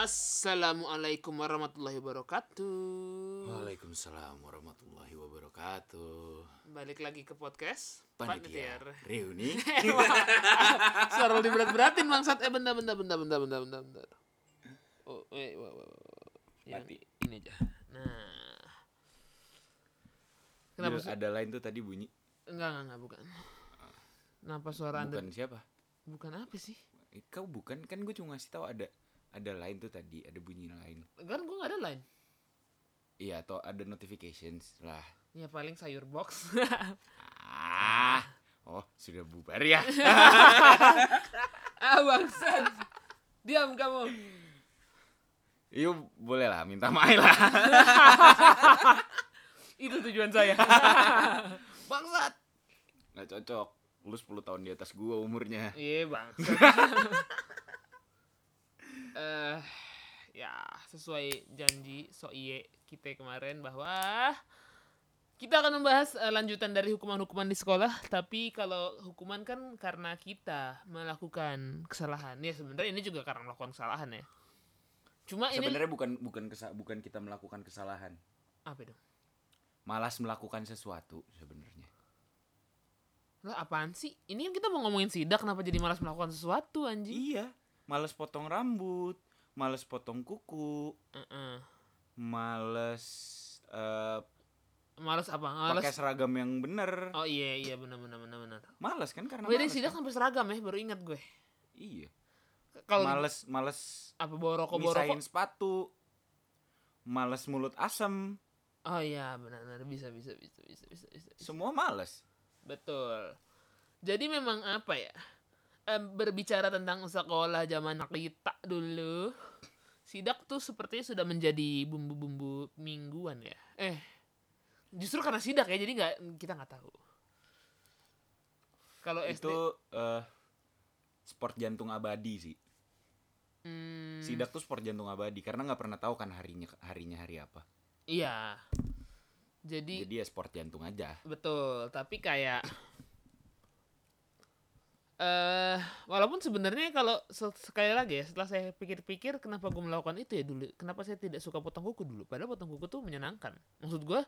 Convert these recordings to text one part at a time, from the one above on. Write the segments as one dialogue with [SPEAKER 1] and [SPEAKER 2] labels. [SPEAKER 1] Assalamualaikum warahmatullahi wabarakatuh.
[SPEAKER 2] Waalaikumsalam warahmatullahi wabarakatuh.
[SPEAKER 1] Balik lagi ke podcast
[SPEAKER 2] Panitia
[SPEAKER 1] Panitiar.
[SPEAKER 2] reuni.
[SPEAKER 1] Eh, wah. Eh, Suara lu diberat-beratin bangsat. Eh benda benda benda benda benda benda benda. Oh, eh, wah, wah, wah, wah. Yang Iya.
[SPEAKER 2] Iya,
[SPEAKER 1] ini aja. Nah. Kenapa
[SPEAKER 2] Dulu
[SPEAKER 1] sih?
[SPEAKER 2] ada lain tuh tadi bunyi.
[SPEAKER 1] Enggak, enggak, enggak, bukan. Kenapa suara Anda
[SPEAKER 2] Bukan siapa?
[SPEAKER 1] bukan apa sih?
[SPEAKER 2] Eh, Kau bukan kan gue cuma ngasih tahu ada ada lain tuh tadi, ada bunyi lain.
[SPEAKER 1] Kan gue gak ada lain.
[SPEAKER 2] Iya, atau ada notifications lah.
[SPEAKER 1] Ya paling sayur box.
[SPEAKER 2] Ah. Oh, sudah bubar ya.
[SPEAKER 1] ah, bangsat. Diam kamu.
[SPEAKER 2] Yuk, boleh lah, Iya, minta maaf lah.
[SPEAKER 1] Itu tujuan saya.
[SPEAKER 2] Bangsat. Nggak cocok. Lu 10 tahun di atas gua umurnya.
[SPEAKER 1] Iya bang. Eh ya sesuai janji so iye kita kemarin bahwa kita akan membahas eh, lanjutan dari hukuman-hukuman di sekolah. Tapi kalau hukuman kan karena kita melakukan kesalahan. Ya sebenarnya ini juga karena melakukan kesalahan ya. Cuma ini
[SPEAKER 2] Sebenarnya bukan bukan kesa- bukan kita melakukan kesalahan.
[SPEAKER 1] apa dong?
[SPEAKER 2] Malas melakukan sesuatu sebenarnya.
[SPEAKER 1] Lah apaan sih? Ini kan kita mau ngomongin sidak kenapa jadi malas melakukan sesuatu anjing?
[SPEAKER 2] Iya, males potong rambut, males potong kuku,
[SPEAKER 1] Heeh.
[SPEAKER 2] males eh,
[SPEAKER 1] Malas apa? Malas.
[SPEAKER 2] pakai seragam yang bener.
[SPEAKER 1] Oh iya iya benar benar benar benar.
[SPEAKER 2] Males kan karena
[SPEAKER 1] Gue dari
[SPEAKER 2] males
[SPEAKER 1] sidak
[SPEAKER 2] kan?
[SPEAKER 1] sampai seragam ya, baru ingat gue.
[SPEAKER 2] Iya.
[SPEAKER 1] Kalau
[SPEAKER 2] males males
[SPEAKER 1] apa bawa rokok bawa
[SPEAKER 2] misahin
[SPEAKER 1] rokok?
[SPEAKER 2] sepatu. Males mulut asem,
[SPEAKER 1] Oh iya benar-benar bisa bisa bisa bisa bisa. bisa.
[SPEAKER 2] semua males.
[SPEAKER 1] Betul. Jadi memang apa ya? Em, berbicara tentang sekolah zaman kita dulu, sidak tuh sepertinya sudah menjadi bumbu-bumbu mingguan ya. Eh, justru karena sidak ya, jadi nggak kita nggak tahu. Kalau SD,
[SPEAKER 2] Itu eh, sport jantung abadi sih.
[SPEAKER 1] hmm,
[SPEAKER 2] Sidak tuh sport jantung abadi karena nggak pernah tahu kan harinya harinya hari apa.
[SPEAKER 1] Iya. Jadi
[SPEAKER 2] Jadi ya sport jantung aja.
[SPEAKER 1] Betul, tapi kayak eh walaupun sebenarnya kalau se- sekali lagi ya setelah saya pikir-pikir kenapa gue melakukan itu ya dulu, kenapa saya tidak suka potong kuku dulu? Padahal potong kuku tuh menyenangkan. Maksud gue,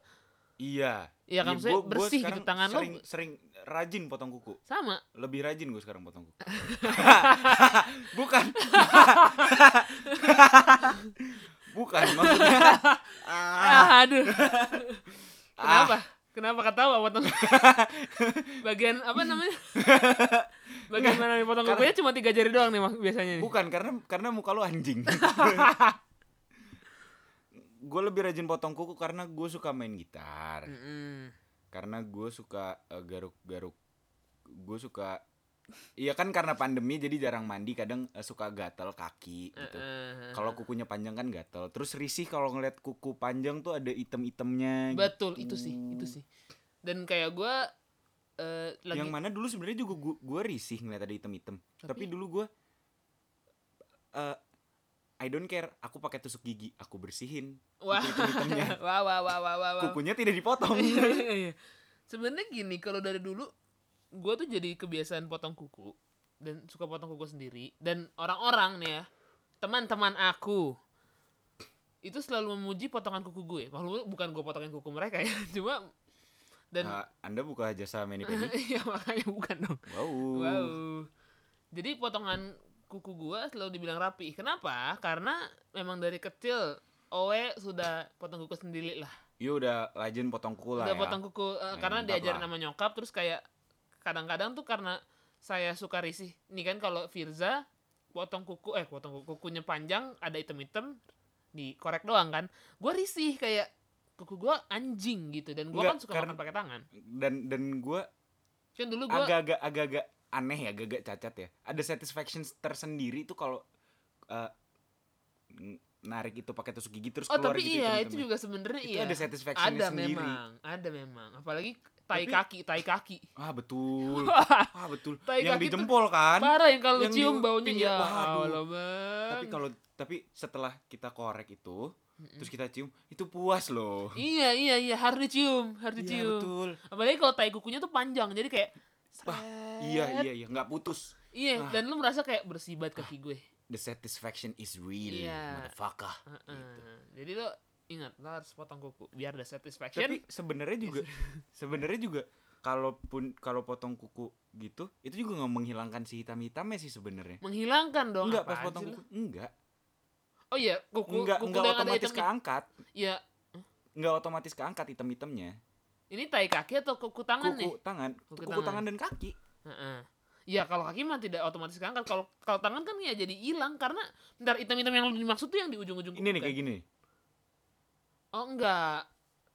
[SPEAKER 2] Iya.
[SPEAKER 1] ya kan saya
[SPEAKER 2] gua- gua
[SPEAKER 1] bersih gitu
[SPEAKER 2] sekarang
[SPEAKER 1] tangan
[SPEAKER 2] sering,
[SPEAKER 1] lo
[SPEAKER 2] sering rajin potong kuku.
[SPEAKER 1] sama.
[SPEAKER 2] lebih rajin gue sekarang potong kuku bukan bukan maksudnya ah,
[SPEAKER 1] Ah, aduh.
[SPEAKER 2] ah,
[SPEAKER 1] Kenapa? Kenapa ketawa potong? Bagian apa namanya? Bagian mana nih potong
[SPEAKER 2] karena-
[SPEAKER 1] kukunya cuma tiga jari doang nih Mas, biasanya nih.
[SPEAKER 2] Ah, bukan karena karena muka lu anjing gue lebih rajin potong kuku karena gue suka main gitar
[SPEAKER 1] Hmm. Mm-mm.
[SPEAKER 2] karena gue suka eh, garuk-garuk gue suka iya kan karena pandemi jadi jarang mandi kadang eh, suka gatel kaki gitu
[SPEAKER 1] Eh, eh, eh.
[SPEAKER 2] kalau kukunya panjang kan gatel terus risih kalau ngeliat kuku panjang tuh ada item-itemnya
[SPEAKER 1] Betul,
[SPEAKER 2] gitu.
[SPEAKER 1] itu sih, itu sih. Dan kayak gue eh lagi
[SPEAKER 2] yang mana dulu sebenarnya juga gua, gua risih ngeliat ada item-item tapi,
[SPEAKER 1] Tapi-
[SPEAKER 2] dulu gua eh I don't care aku pakai tusuk gigi aku bersihin
[SPEAKER 1] wah,
[SPEAKER 2] itu item-itemnya.
[SPEAKER 1] wah wah wah wah wah. wah.
[SPEAKER 2] kukunya tidak dipotong
[SPEAKER 1] Iya, iya, iya. Sebenarnya gini, kalau dari dulu gue tuh jadi kebiasaan potong kuku dan suka potong kuku sendiri dan orang-orang nih ya teman-teman aku itu selalu memuji potongan kuku gue. Walaupun bukan gue potongin kuku mereka ya, cuma dan
[SPEAKER 2] Ah, gitu. anda buka jasa mani pedi
[SPEAKER 1] iya makanya bukan dong.
[SPEAKER 2] wow,
[SPEAKER 1] Wow. Jadi potongan kuku gua selalu dibilang rapi. Kenapa? Karena memang dari kecil Owe sudah potong kuku sendiri lah.
[SPEAKER 2] Iya udah rajin potong kuku lah
[SPEAKER 1] Udah
[SPEAKER 2] ya
[SPEAKER 1] potong kuku eh,
[SPEAKER 2] Ya,
[SPEAKER 1] karena
[SPEAKER 2] mantap
[SPEAKER 1] diajarin
[SPEAKER 2] lah.
[SPEAKER 1] sama nyokap terus kayak kadang-kadang tuh karena saya suka risih. Nih kan kalau Firza potong kuku eh potong kuku kukunya panjang ada item-item dikorek doang kan. Gua risih kayak kuku gua anjing gitu dan gua
[SPEAKER 2] Nggak,
[SPEAKER 1] kan suka
[SPEAKER 2] karena-
[SPEAKER 1] makan pakai tangan.
[SPEAKER 2] dan dan gua
[SPEAKER 1] Kan dulu gua
[SPEAKER 2] agak-agak agak-agak aneh ya, agak-agak cacat ya. Ada satisfaction tersendiri tuh kalau eh, n- narik itu pakai tusuk gigi terus
[SPEAKER 1] Oh
[SPEAKER 2] keluar
[SPEAKER 1] tapi
[SPEAKER 2] gitu
[SPEAKER 1] iya itu
[SPEAKER 2] item-itemnya.
[SPEAKER 1] juga sebenarnya
[SPEAKER 2] Itu
[SPEAKER 1] iya.
[SPEAKER 2] ada satisfaction
[SPEAKER 1] ada
[SPEAKER 2] sendiri.
[SPEAKER 1] memang ada memang apalagi tai
[SPEAKER 2] Tapi-
[SPEAKER 1] kaki tai kaki
[SPEAKER 2] Ah betul. ah betul.
[SPEAKER 1] Tai
[SPEAKER 2] yang
[SPEAKER 1] kaki
[SPEAKER 2] di
[SPEAKER 1] tuh
[SPEAKER 2] jempol kan.
[SPEAKER 1] parah yang kalau
[SPEAKER 2] Yang di
[SPEAKER 1] cium baunya
[SPEAKER 2] pinggir-
[SPEAKER 1] ya
[SPEAKER 2] waduh.
[SPEAKER 1] Allah bang
[SPEAKER 2] Tapi kalau tapi setelah kita korek itu,
[SPEAKER 1] Mm-mm.
[SPEAKER 2] terus kita cium, itu puas loh.
[SPEAKER 1] iya iya iya harus dicium harus
[SPEAKER 2] Iya
[SPEAKER 1] dicium
[SPEAKER 2] betul.
[SPEAKER 1] apalagi kalau tai kukunya tuh panjang jadi kayak
[SPEAKER 2] Wah,
[SPEAKER 1] seret.
[SPEAKER 2] Iya iya iya nggak putus.
[SPEAKER 1] iya
[SPEAKER 2] Ah.
[SPEAKER 1] dan lu merasa kayak bersibat kaki gue
[SPEAKER 2] the satisfaction is real,
[SPEAKER 1] Iya.
[SPEAKER 2] motherfucker.
[SPEAKER 1] Heeh.
[SPEAKER 2] Gitu.
[SPEAKER 1] Jadi lo ingat lo harus potong kuku biar ada satisfaction.
[SPEAKER 2] Tapi Kan sebenarnya juga
[SPEAKER 1] Iya,
[SPEAKER 2] sebenarnya juga kalaupun kalau potong kuku gitu, itu juga nggak menghilangkan si hitam-hitamnya sih sebenarnya.
[SPEAKER 1] menghilangkan dong.
[SPEAKER 2] Enggak pas
[SPEAKER 1] apaan
[SPEAKER 2] potong
[SPEAKER 1] sih
[SPEAKER 2] kuku,
[SPEAKER 1] lo?
[SPEAKER 2] enggak.
[SPEAKER 1] Oh iya, kuku
[SPEAKER 2] Enggak
[SPEAKER 1] kuku
[SPEAKER 2] enggak
[SPEAKER 1] yang ada
[SPEAKER 2] otomatis kan.
[SPEAKER 1] hitam.
[SPEAKER 2] keangkat.
[SPEAKER 1] Iya,
[SPEAKER 2] Enggak otomatis keangkat hitam-hitamnya.
[SPEAKER 1] ini tai kaki atau kuku tangan nih?
[SPEAKER 2] Kuku tangan,
[SPEAKER 1] Kuku
[SPEAKER 2] kuku,
[SPEAKER 1] tangan.
[SPEAKER 2] tangan dan kaki.
[SPEAKER 1] Heeh. Ya kalau kaki mah tidak otomatis keangkat. Kalau kalau tangan kan ya jadi hilang karena bentar item-item yang lo dimaksud tuh yang di ujung-ujung
[SPEAKER 2] Ini nih
[SPEAKER 1] kan?
[SPEAKER 2] kayak gini. nih.
[SPEAKER 1] Oh enggak.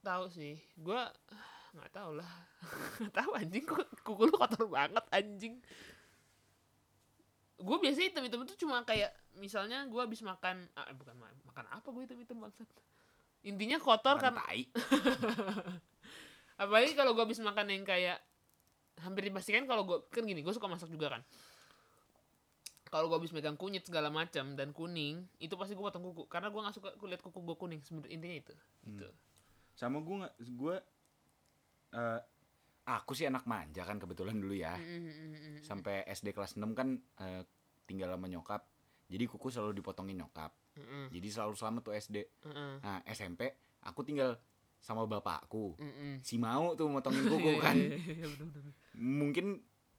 [SPEAKER 1] Tahu sih. Gua ah, nggak tahu lah. Nggak tahu anjing kok kuku lu kotor banget anjing. Gue biasanya item-item itu cuma kayak misalnya gua habis makan ah, eh, bukan ma- makan apa gue item-item bangsat. Intinya kotor
[SPEAKER 2] Makan
[SPEAKER 1] karena
[SPEAKER 2] tai.
[SPEAKER 1] apalagi kalau gua habis makan yang kayak hampir dipastikan kalau gua kan gini, gue suka masak juga kan. Kalau gua habis megang kunyit segala macam dan kuning, itu pasti gua potong kuku karena gua nggak suka kulit kuku gua kuning. Sebenarnya intinya itu. Gitu.
[SPEAKER 2] sama gue nggak gue eh aku sih anak manja kan kebetulan dulu ya
[SPEAKER 1] Mm, mm, mm, mm, mm.
[SPEAKER 2] sampai SD kelas 6 kan eh, tinggal sama nyokap jadi kuku selalu dipotongin nyokap
[SPEAKER 1] Mm,
[SPEAKER 2] jadi selalu selama tuh SD
[SPEAKER 1] mm, mm,
[SPEAKER 2] nah SMP aku tinggal sama bapakku
[SPEAKER 1] mm, mm.
[SPEAKER 2] si mau tuh motongin
[SPEAKER 1] Iya,
[SPEAKER 2] kuku
[SPEAKER 1] iya,
[SPEAKER 2] kan
[SPEAKER 1] iya, iya, bener-bener.
[SPEAKER 2] mungkin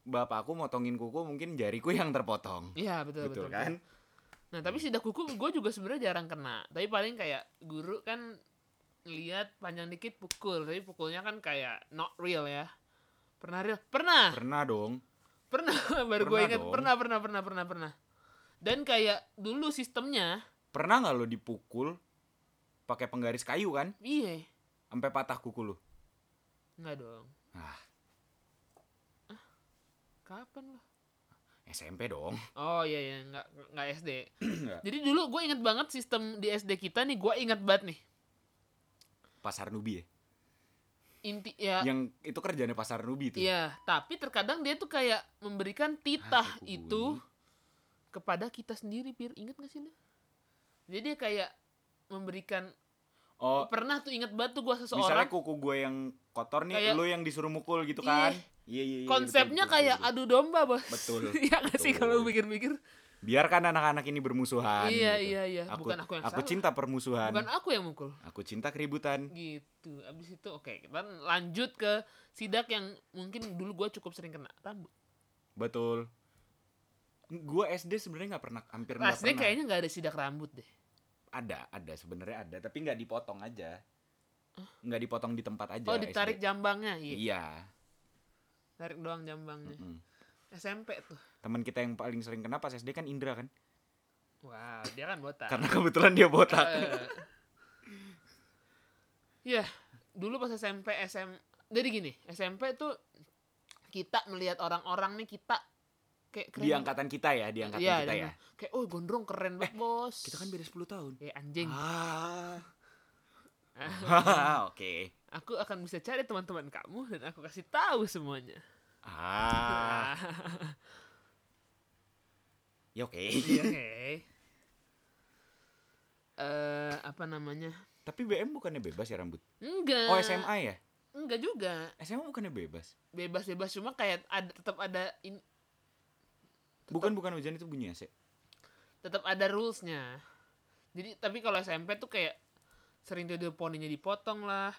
[SPEAKER 2] bapakku motongin kuku mungkin jariku yang terpotong
[SPEAKER 1] Iya betul, betul
[SPEAKER 2] betul, kan
[SPEAKER 1] betul. Nah tapi sidak kuku gue juga sebenarnya jarang kena. Tapi paling kayak guru kan lihat panjang dikit pukul, tapi pukulnya kan kayak not real ya. Pernah real? Pernah,
[SPEAKER 2] pernah dong
[SPEAKER 1] pernah. Baru gue
[SPEAKER 2] Pernah
[SPEAKER 1] ingat
[SPEAKER 2] dong.
[SPEAKER 1] pernah, pernah, pernah, pernah, pernah. Dan kayak dulu sistemnya,
[SPEAKER 2] pernah nggak lo dipukul pakai penggaris kayu kan
[SPEAKER 1] iya,
[SPEAKER 2] sampai patah kuku lo
[SPEAKER 1] nggak dong. Ah,
[SPEAKER 2] ah
[SPEAKER 1] Kapan lo?
[SPEAKER 2] SMP dong
[SPEAKER 1] Oh iya iya nggak nggak SD.
[SPEAKER 2] Nggak.
[SPEAKER 1] Jadi dulu gue inget banget sistem di SD kita nih, gue inget banget nih.
[SPEAKER 2] pasar nubi ya
[SPEAKER 1] Inti ya
[SPEAKER 2] yang itu kerjanya pasar Ruby itu.
[SPEAKER 1] Iya, tapi terkadang dia tuh kayak memberikan titah
[SPEAKER 2] kuku
[SPEAKER 1] itu
[SPEAKER 2] bunyi.
[SPEAKER 1] kepada kita sendiri, Pir. Ingat gak sih lu? Jadi dia kayak memberikan
[SPEAKER 2] Oh,
[SPEAKER 1] pernah tuh ingat banget tuh gua
[SPEAKER 2] misalnya
[SPEAKER 1] seseorang
[SPEAKER 2] kuku gue yang kotor nih,
[SPEAKER 1] Kayak-
[SPEAKER 2] lu yang disuruh mukul gitu
[SPEAKER 1] Iya.
[SPEAKER 2] kan? Iya, iya, iya,
[SPEAKER 1] konsepnya
[SPEAKER 2] betul, betul,
[SPEAKER 1] kayak
[SPEAKER 2] betul, betul.
[SPEAKER 1] adu domba, Bos.
[SPEAKER 2] Betul,
[SPEAKER 1] Iya gak sih
[SPEAKER 2] betul.
[SPEAKER 1] kalau pikir-pikir?
[SPEAKER 2] biarkan anak-anak ini bermusuhan.
[SPEAKER 1] Iya,
[SPEAKER 2] gitu.
[SPEAKER 1] iya, iya.
[SPEAKER 2] Aku,
[SPEAKER 1] Bukan aku yang salah.
[SPEAKER 2] cinta kan. permusuhan.
[SPEAKER 1] Bukan aku yang mukul.
[SPEAKER 2] Aku cinta keributan.
[SPEAKER 1] Gitu. Abis itu oke, kita lanjut ke sidak yang mungkin dulu gua cukup sering kena rambut.
[SPEAKER 2] Betul. Gue SD sebenarnya nggak pernah hampir nggak
[SPEAKER 1] Rasanya
[SPEAKER 2] pernah.
[SPEAKER 1] kayaknya nggak ada sidak rambut deh.
[SPEAKER 2] Ada, ada sebenarnya ada, tapi nggak dipotong aja. Nggak dipotong di tempat aja.
[SPEAKER 1] Oh,
[SPEAKER 2] SD.
[SPEAKER 1] ditarik jambangnya. Iya.
[SPEAKER 2] Iya.
[SPEAKER 1] Tarik doang jambangnya.
[SPEAKER 2] Mm.
[SPEAKER 1] SMP tuh.
[SPEAKER 2] Teman kita yang paling sering kena pas SD kan Indra
[SPEAKER 1] Iya.
[SPEAKER 2] kan?
[SPEAKER 1] Wow, dia kan botak.
[SPEAKER 2] Karena kebetulan dia botak.
[SPEAKER 1] Eh. Iya, dulu pas SMP SM jadi gini, SMP tuh kita melihat orang-orang nih kita kayak
[SPEAKER 2] di angkatan kita ya, di angkatan
[SPEAKER 1] Iya,
[SPEAKER 2] kita
[SPEAKER 1] di-
[SPEAKER 2] ya.
[SPEAKER 1] Kayak oh gondrong keren banget, Bos.
[SPEAKER 2] Kita kan beda 10 tahun.
[SPEAKER 1] Eh, anjing.
[SPEAKER 2] Ah.
[SPEAKER 1] Ah,
[SPEAKER 2] Oke.
[SPEAKER 1] Aku akan bisa cari teman-teman kamu dan aku kasih tahu semuanya.
[SPEAKER 2] Ah. Ya oke.
[SPEAKER 1] Iya, oke. Eh, apa namanya?
[SPEAKER 2] Tapi BM bukannya bebas ya rambut?
[SPEAKER 1] Enggak.
[SPEAKER 2] Oh SMA ya?
[SPEAKER 1] Enggak juga.
[SPEAKER 2] SMA bukannya bebas.
[SPEAKER 1] Bebas-bebas cuma kayak ada tetap ada in-
[SPEAKER 2] Bukan bukan hujan itu bunyi AC.
[SPEAKER 1] tetap ada rulesnya jadi tapi kalau SMP tuh kayak sering dodol poninya dipotong lah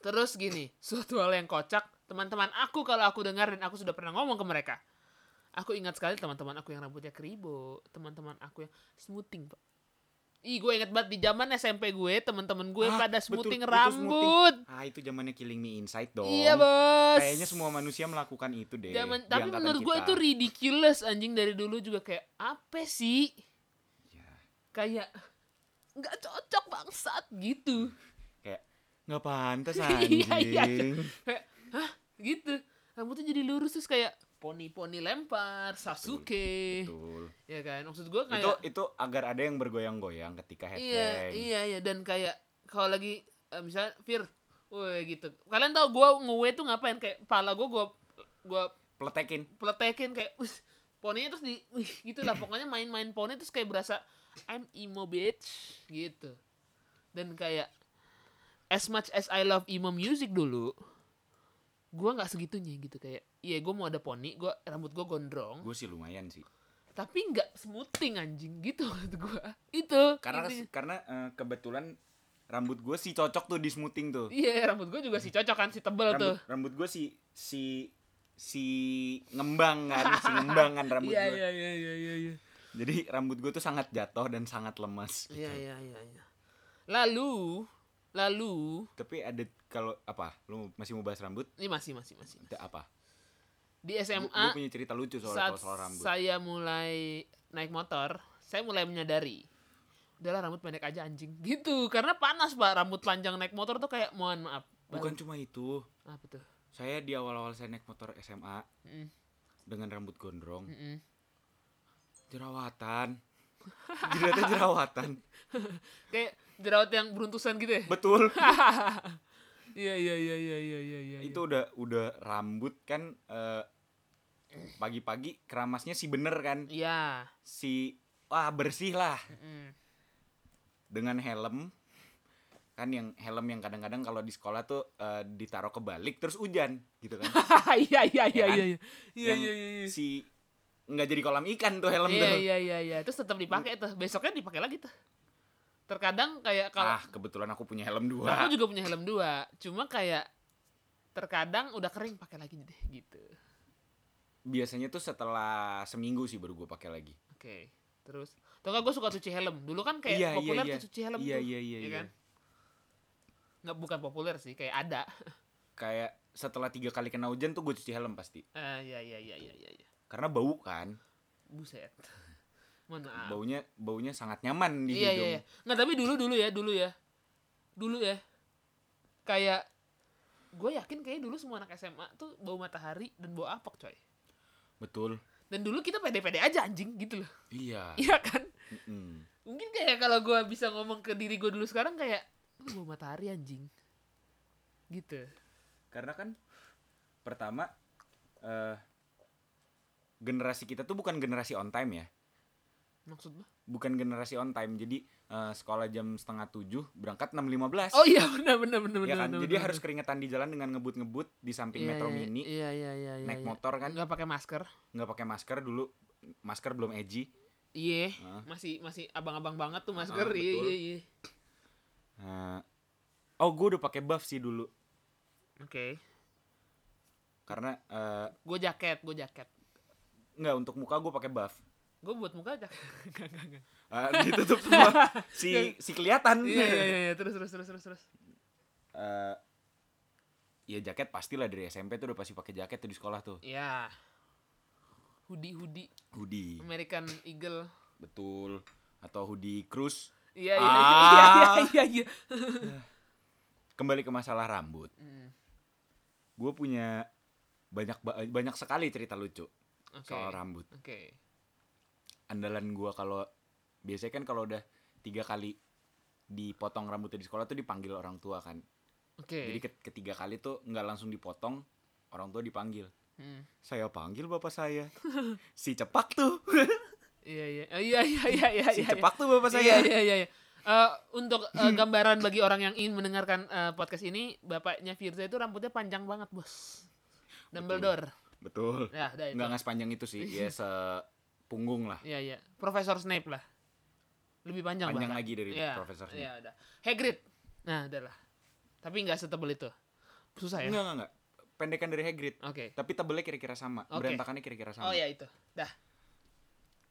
[SPEAKER 1] terus gini suatu hal yang kocak teman-teman aku kalau aku dengar dan aku sudah pernah ngomong ke mereka aku ingat sekali teman-teman aku yang rambutnya keribo teman-teman aku yang smoothing pak Ih, gue inget banget di zaman SMP gue, teman-teman gue
[SPEAKER 2] Ah,
[SPEAKER 1] pada
[SPEAKER 2] betul,
[SPEAKER 1] smoothing
[SPEAKER 2] betul,
[SPEAKER 1] rambut.
[SPEAKER 2] smoothing. Ah, itu zamannya Killing Me Inside dong.
[SPEAKER 1] Iya, Bos.
[SPEAKER 2] Kayaknya semua manusia melakukan itu deh.
[SPEAKER 1] Zaman,
[SPEAKER 2] Iya, di
[SPEAKER 1] tapi
[SPEAKER 2] angkatan
[SPEAKER 1] menurut gue
[SPEAKER 2] kita.
[SPEAKER 1] itu ridiculous anjing dari dulu juga kayak apa sih?
[SPEAKER 2] Ya,
[SPEAKER 1] kayak nggak cocok bangsat gitu
[SPEAKER 2] kayak nggak pantas anjing.
[SPEAKER 1] Iya, iya, iya. kayak hah gitu rambutnya jadi lurus terus kayak poni-poni lempar Sasuke
[SPEAKER 2] Betul.
[SPEAKER 1] ya kan maksud gue
[SPEAKER 2] Itu
[SPEAKER 1] kayak
[SPEAKER 2] itu agar ada yang bergoyang-goyang ketika headbang.
[SPEAKER 1] iya iya iya dan kayak kalau lagi eh, misalnya Fir woi gitu kalian tau gue ngewe tuh ngapain kayak pala gue gue gue
[SPEAKER 2] Pletekin.
[SPEAKER 1] peletekin kayak "Wih, poninya terus di wih, gitu lah pokoknya main-main poni terus kayak berasa I'm emo bitch gitu dan kayak as much as I love emo music dulu gua nggak segitunya gitu kayak iya gua mau ada poni gua rambut gua gondrong
[SPEAKER 2] Gue sih lumayan sih.
[SPEAKER 1] tapi nggak smoothing anjing gitu menurut gua itu
[SPEAKER 2] karena
[SPEAKER 1] intinya.
[SPEAKER 2] karena eh, kebetulan rambut gue sih cocok tuh di smoothing tuh
[SPEAKER 1] iya rambut gua juga sih cocok kan si tebel tuh
[SPEAKER 2] rambut rambut gue si si si ngembang kan si ngembang kan rambut
[SPEAKER 1] iya
[SPEAKER 2] gue
[SPEAKER 1] iya iya iya iya iya
[SPEAKER 2] jadi rambut gue tuh sangat jatuh dan sangat lemas gitu.
[SPEAKER 1] iya iya iya iya. lalu lalu
[SPEAKER 2] tapi ada kalau apa lu masih mau bahas rambut
[SPEAKER 1] ini masih masih masih
[SPEAKER 2] Ada apa
[SPEAKER 1] di
[SPEAKER 2] Lu-
[SPEAKER 1] SMA
[SPEAKER 2] lu punya cerita lucu soal
[SPEAKER 1] saat
[SPEAKER 2] kalau soal rambut
[SPEAKER 1] saya mulai naik motor, saya mulai menyadari udahlah rambut pendek aja anjing gitu karena panas pak rambut panjang naik motor tuh kayak mohon maaf
[SPEAKER 2] bukan cuma itu
[SPEAKER 1] Bang. apa tuh
[SPEAKER 2] saya di awal-awal saya naik motor SMA
[SPEAKER 1] Mm-mm,
[SPEAKER 2] dengan rambut gondrong
[SPEAKER 1] mm-mm.
[SPEAKER 2] jerawatan jerawatan jerawatan
[SPEAKER 1] kayak jerawat yang beruntusan gitu ya
[SPEAKER 2] betul
[SPEAKER 1] iya iya iya iya iya iya iya
[SPEAKER 2] itu udah udah rambut kan eh, pagi-pagi keramasnya si bener kan
[SPEAKER 1] iya
[SPEAKER 2] si wah bersih lah
[SPEAKER 1] Mm-mm.
[SPEAKER 2] dengan helm kan yang helm yang kadang-kadang kalau di sekolah tuh eh, ditaruh kebalik terus hujan gitu kan
[SPEAKER 1] iya iya iya
[SPEAKER 2] kan?
[SPEAKER 1] iya iya iya
[SPEAKER 2] Yang
[SPEAKER 1] iya iya
[SPEAKER 2] si nggak jadi kolam ikan tuh helm
[SPEAKER 1] iya
[SPEAKER 2] tuh
[SPEAKER 1] iya iya iya terus tetap dipakai tuh besoknya dipakai lagi tuh terkadang kayak kalau
[SPEAKER 2] ah kebetulan aku punya helm
[SPEAKER 1] Aku
[SPEAKER 2] dua
[SPEAKER 1] juga punya helm dua, cuma kayak terkadang udah kering pakai lagi deh gitu.
[SPEAKER 2] biasanya tuh setelah seminggu sih baru gue pakai lagi
[SPEAKER 1] Oke, terus. Tuh kan gue suka cuci helm. Dulu kan kayak
[SPEAKER 2] Iya, iya,
[SPEAKER 1] populer
[SPEAKER 2] iya.
[SPEAKER 1] tuh cuci helm
[SPEAKER 2] Iya,
[SPEAKER 1] tuh.
[SPEAKER 2] iya, iya,
[SPEAKER 1] ya
[SPEAKER 2] iya.
[SPEAKER 1] kan? Nggak bukan populer sih, kayak ada.
[SPEAKER 2] kayak setelah tiga kali kena hujan tuh gue cuci helm pasti
[SPEAKER 1] Eh ya ya ya ya ya ya.
[SPEAKER 2] karena bau kan
[SPEAKER 1] Buset. Mohon maaf.
[SPEAKER 2] baunya baunya sangat nyaman
[SPEAKER 1] Ah. Iya
[SPEAKER 2] di
[SPEAKER 1] iya.
[SPEAKER 2] hidung
[SPEAKER 1] iya. Nggak tapi dulu dulu ya, dulu ya. Dulu ya. Kayak gue yakin kayaknya dulu semua anak SMA tuh bau matahari dan bau apok coy.
[SPEAKER 2] betul
[SPEAKER 1] Dan dulu kita pede-pede aja anjing gitu loh.
[SPEAKER 2] iya
[SPEAKER 1] Iya kan?
[SPEAKER 2] Mm-mm.
[SPEAKER 1] mungkin kayak kalau gua bisa ngomong ke diri gue dulu sekarang kayak lu mau matahari anjing gitu
[SPEAKER 2] karena kan pertama eh generasi kita tuh bukan generasi on time ya
[SPEAKER 1] maksud lu
[SPEAKER 2] bukan generasi on time jadi eh, sekolah jam setengah tujuh berangkat enam lima belas
[SPEAKER 1] oh iya benar benar benar
[SPEAKER 2] ya
[SPEAKER 1] benar
[SPEAKER 2] kan
[SPEAKER 1] benar,
[SPEAKER 2] jadi
[SPEAKER 1] benar.
[SPEAKER 2] harus keringetan di jalan dengan ngebut-ngebut di samping
[SPEAKER 1] Iya,
[SPEAKER 2] metro
[SPEAKER 1] iya,
[SPEAKER 2] mini
[SPEAKER 1] iya iya iya iya,
[SPEAKER 2] naik
[SPEAKER 1] iya.
[SPEAKER 2] motor kan
[SPEAKER 1] nggak pakai masker
[SPEAKER 2] nggak pakai masker dulu masker belum edgy
[SPEAKER 1] iya
[SPEAKER 2] Hah?
[SPEAKER 1] masih masih abang-abang banget tuh masker
[SPEAKER 2] Ah,
[SPEAKER 1] iya
[SPEAKER 2] betul.
[SPEAKER 1] iya iya
[SPEAKER 2] Eh, oh gue udah pakai buff sih dulu
[SPEAKER 1] oke
[SPEAKER 2] karena eh,
[SPEAKER 1] gue jaket gue jaket
[SPEAKER 2] nggak untuk muka gue pakai buff
[SPEAKER 1] gue buat muka jaket Nggak, nggak, nggak.
[SPEAKER 2] Eh, ditutup semua si si kelihatan
[SPEAKER 1] iya iya iya, iya terus terus terus terus terus
[SPEAKER 2] eh ya jaket pastilah dari SMP tuh udah pasti pakai jaket tuh di sekolah tuh
[SPEAKER 1] ya hoodie hoodie
[SPEAKER 2] hoodie
[SPEAKER 1] American Eagle
[SPEAKER 2] betul atau hoodie cruise
[SPEAKER 1] iya iya iya,
[SPEAKER 2] Ah.
[SPEAKER 1] iya iya iya
[SPEAKER 2] kembali ke masalah rambut
[SPEAKER 1] Mm,
[SPEAKER 2] gue punya banyak ba- banyak sekali cerita lucu
[SPEAKER 1] oke
[SPEAKER 2] soal rambut
[SPEAKER 1] oke
[SPEAKER 2] andalan gue kalau biasanya kan kalau udah tiga kali dipotong rambutnya di sekolah tuh dipanggil orang tua kan
[SPEAKER 1] oke
[SPEAKER 2] jadi ke- ketiga kali tuh nggak langsung dipotong orang tua dipanggil
[SPEAKER 1] Mm.
[SPEAKER 2] saya panggil bapak saya si cepak tuh
[SPEAKER 1] Iya iya Oh, iya iya iya iya.
[SPEAKER 2] si
[SPEAKER 1] iya.
[SPEAKER 2] cepak tuh
[SPEAKER 1] Iya
[SPEAKER 2] bapak saya
[SPEAKER 1] iya iya. iya. Eh, untuk eh, gambaran bagi orang yang ingin mendengarkan eh, podcast ini, bapaknya Firza itu rambutnya panjang banget, Bos. Dumbledore.
[SPEAKER 2] betul
[SPEAKER 1] Ya, udah itu.
[SPEAKER 2] nggak nggak sepanjang itu sih ya sepunggung lah
[SPEAKER 1] Iya iya. Profesor Snape lah. Lebih panjang,
[SPEAKER 2] panjang
[SPEAKER 1] bahkan.
[SPEAKER 2] lagi dari
[SPEAKER 1] Iya,
[SPEAKER 2] profesor Snape.
[SPEAKER 1] Iya, udah. Hagrid. Nah, udah lah. Tapi nggak setebel itu. Susah ya?
[SPEAKER 2] Enggak, enggak, enggak. Pendekan dari Hagrid.
[SPEAKER 1] Oke.
[SPEAKER 2] Tapi tebelnya kira-kira sama.
[SPEAKER 1] Oke.
[SPEAKER 2] Berantakannya kira-kira
[SPEAKER 1] Oh
[SPEAKER 2] sama.
[SPEAKER 1] ya itu. Dah.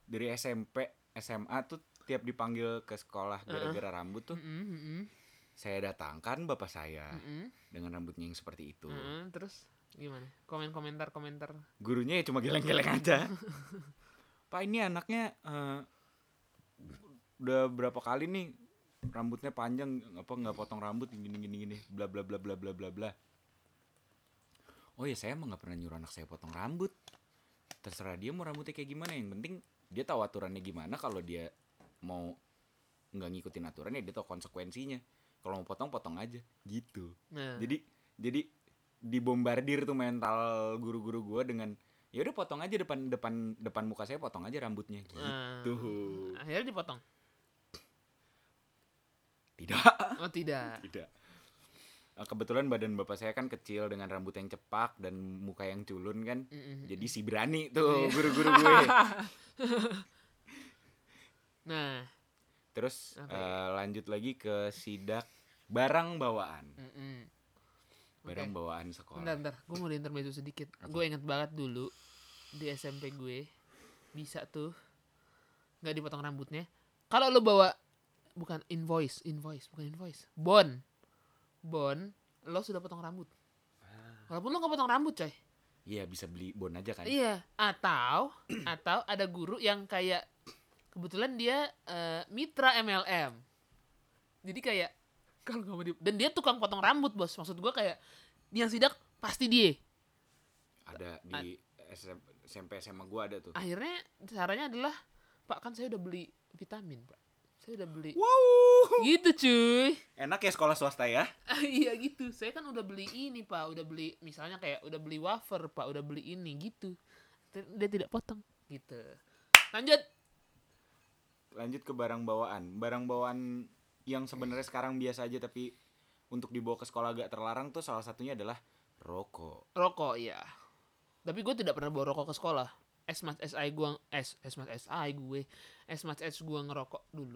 [SPEAKER 2] Dari SMP, SMA tuh tiap dipanggil ke sekolah gara-gara rambut tuh.
[SPEAKER 1] Mm-mm, mm-mm,
[SPEAKER 2] Saya datangkan bapak saya
[SPEAKER 1] mm-mm,
[SPEAKER 2] dengan rambutnya yang seperti itu.
[SPEAKER 1] mm-mm. Terus gimana? Komen komentar komentar.
[SPEAKER 2] Gurunya ya cuma geleng-geleng aja. Pak ini anaknya eh, udah berapa kali nih rambutnya panjang apa nggak potong rambut gini gini gini bla bla bla bla bla bla bla. Oh ya saya emang nggak pernah nyuruh anak saya potong rambut. Terserah dia mau rambutnya kayak gimana yang penting dia tahu aturannya gimana kalau dia mau nggak ngikutin aturannya dia tahu konsekuensinya. Kalau mau potong potong aja gitu
[SPEAKER 1] Nah.
[SPEAKER 2] jadi jadi dibombardir tuh mental guru-guru gua dengan ya udah potong aja depan depan depan muka saya potong aja rambutnya gitu
[SPEAKER 1] Nah,
[SPEAKER 2] Hmm.
[SPEAKER 1] Akhirnya dipotong.
[SPEAKER 2] tidak
[SPEAKER 1] Oh tidak.
[SPEAKER 2] tidak oke Ah, kebetulan badan bapak saya kan kecil dengan rambut yang cepak dan muka yang culun kan.
[SPEAKER 1] Mm-mm. Iya.
[SPEAKER 2] Jadi si berani tuh guru-guru gue.
[SPEAKER 1] Nah,
[SPEAKER 2] Terus
[SPEAKER 1] Apa
[SPEAKER 2] eh, lanjut lagi ke sidak barang bawaan.
[SPEAKER 1] mm-mm.
[SPEAKER 2] Barang
[SPEAKER 1] Oke.
[SPEAKER 2] bawaan sekolah.
[SPEAKER 1] bentar, bentar. Gue mau di intermezzo sedikit. Gue inget banget dulu di SMP gue bisa tuh nggak dipotong rambutnya. Kalau lo bawa bukan invoice, invoice, bukan invoice, bon, bon, lo sudah potong rambut. Walaupun lo nggak potong rambut, coy.
[SPEAKER 2] Iya, bisa beli bon aja kan.
[SPEAKER 1] Iya. Atau atau ada guru yang kayak kebetulan dia eh, mitra MLM. Jadi kayak kalau nggak mau di- dan dia tukang potong rambut bos. Maksud gua kayak yang sidak pasti dia.
[SPEAKER 2] Ada di SM SMP SMA gua ada tuh.
[SPEAKER 1] Akhirnya caranya adalah Pak kan saya udah beli vitamin Pak. Saya udah beli.
[SPEAKER 2] Wow.
[SPEAKER 1] Gitu cuy.
[SPEAKER 2] Enak ya sekolah swasta ya.
[SPEAKER 1] Ah, iya gitu. Saya kan udah beli ini Pak. Udah beli misalnya kayak udah beli wafer Pak. Udah beli ini gitu. Dia tidak potong gitu. Lanjut.
[SPEAKER 2] Lanjut ke barang bawaan. Barang bawaan yang sebenarnya sekarang biasa aja tapi untuk dibawa ke sekolah agak terlarang tuh salah satunya adalah rokok.
[SPEAKER 1] rokok iya tapi gue tidak pernah bawa rokok ke sekolah es mas es ai gue es es mas es ai gue es mas es gue ngerokok dulu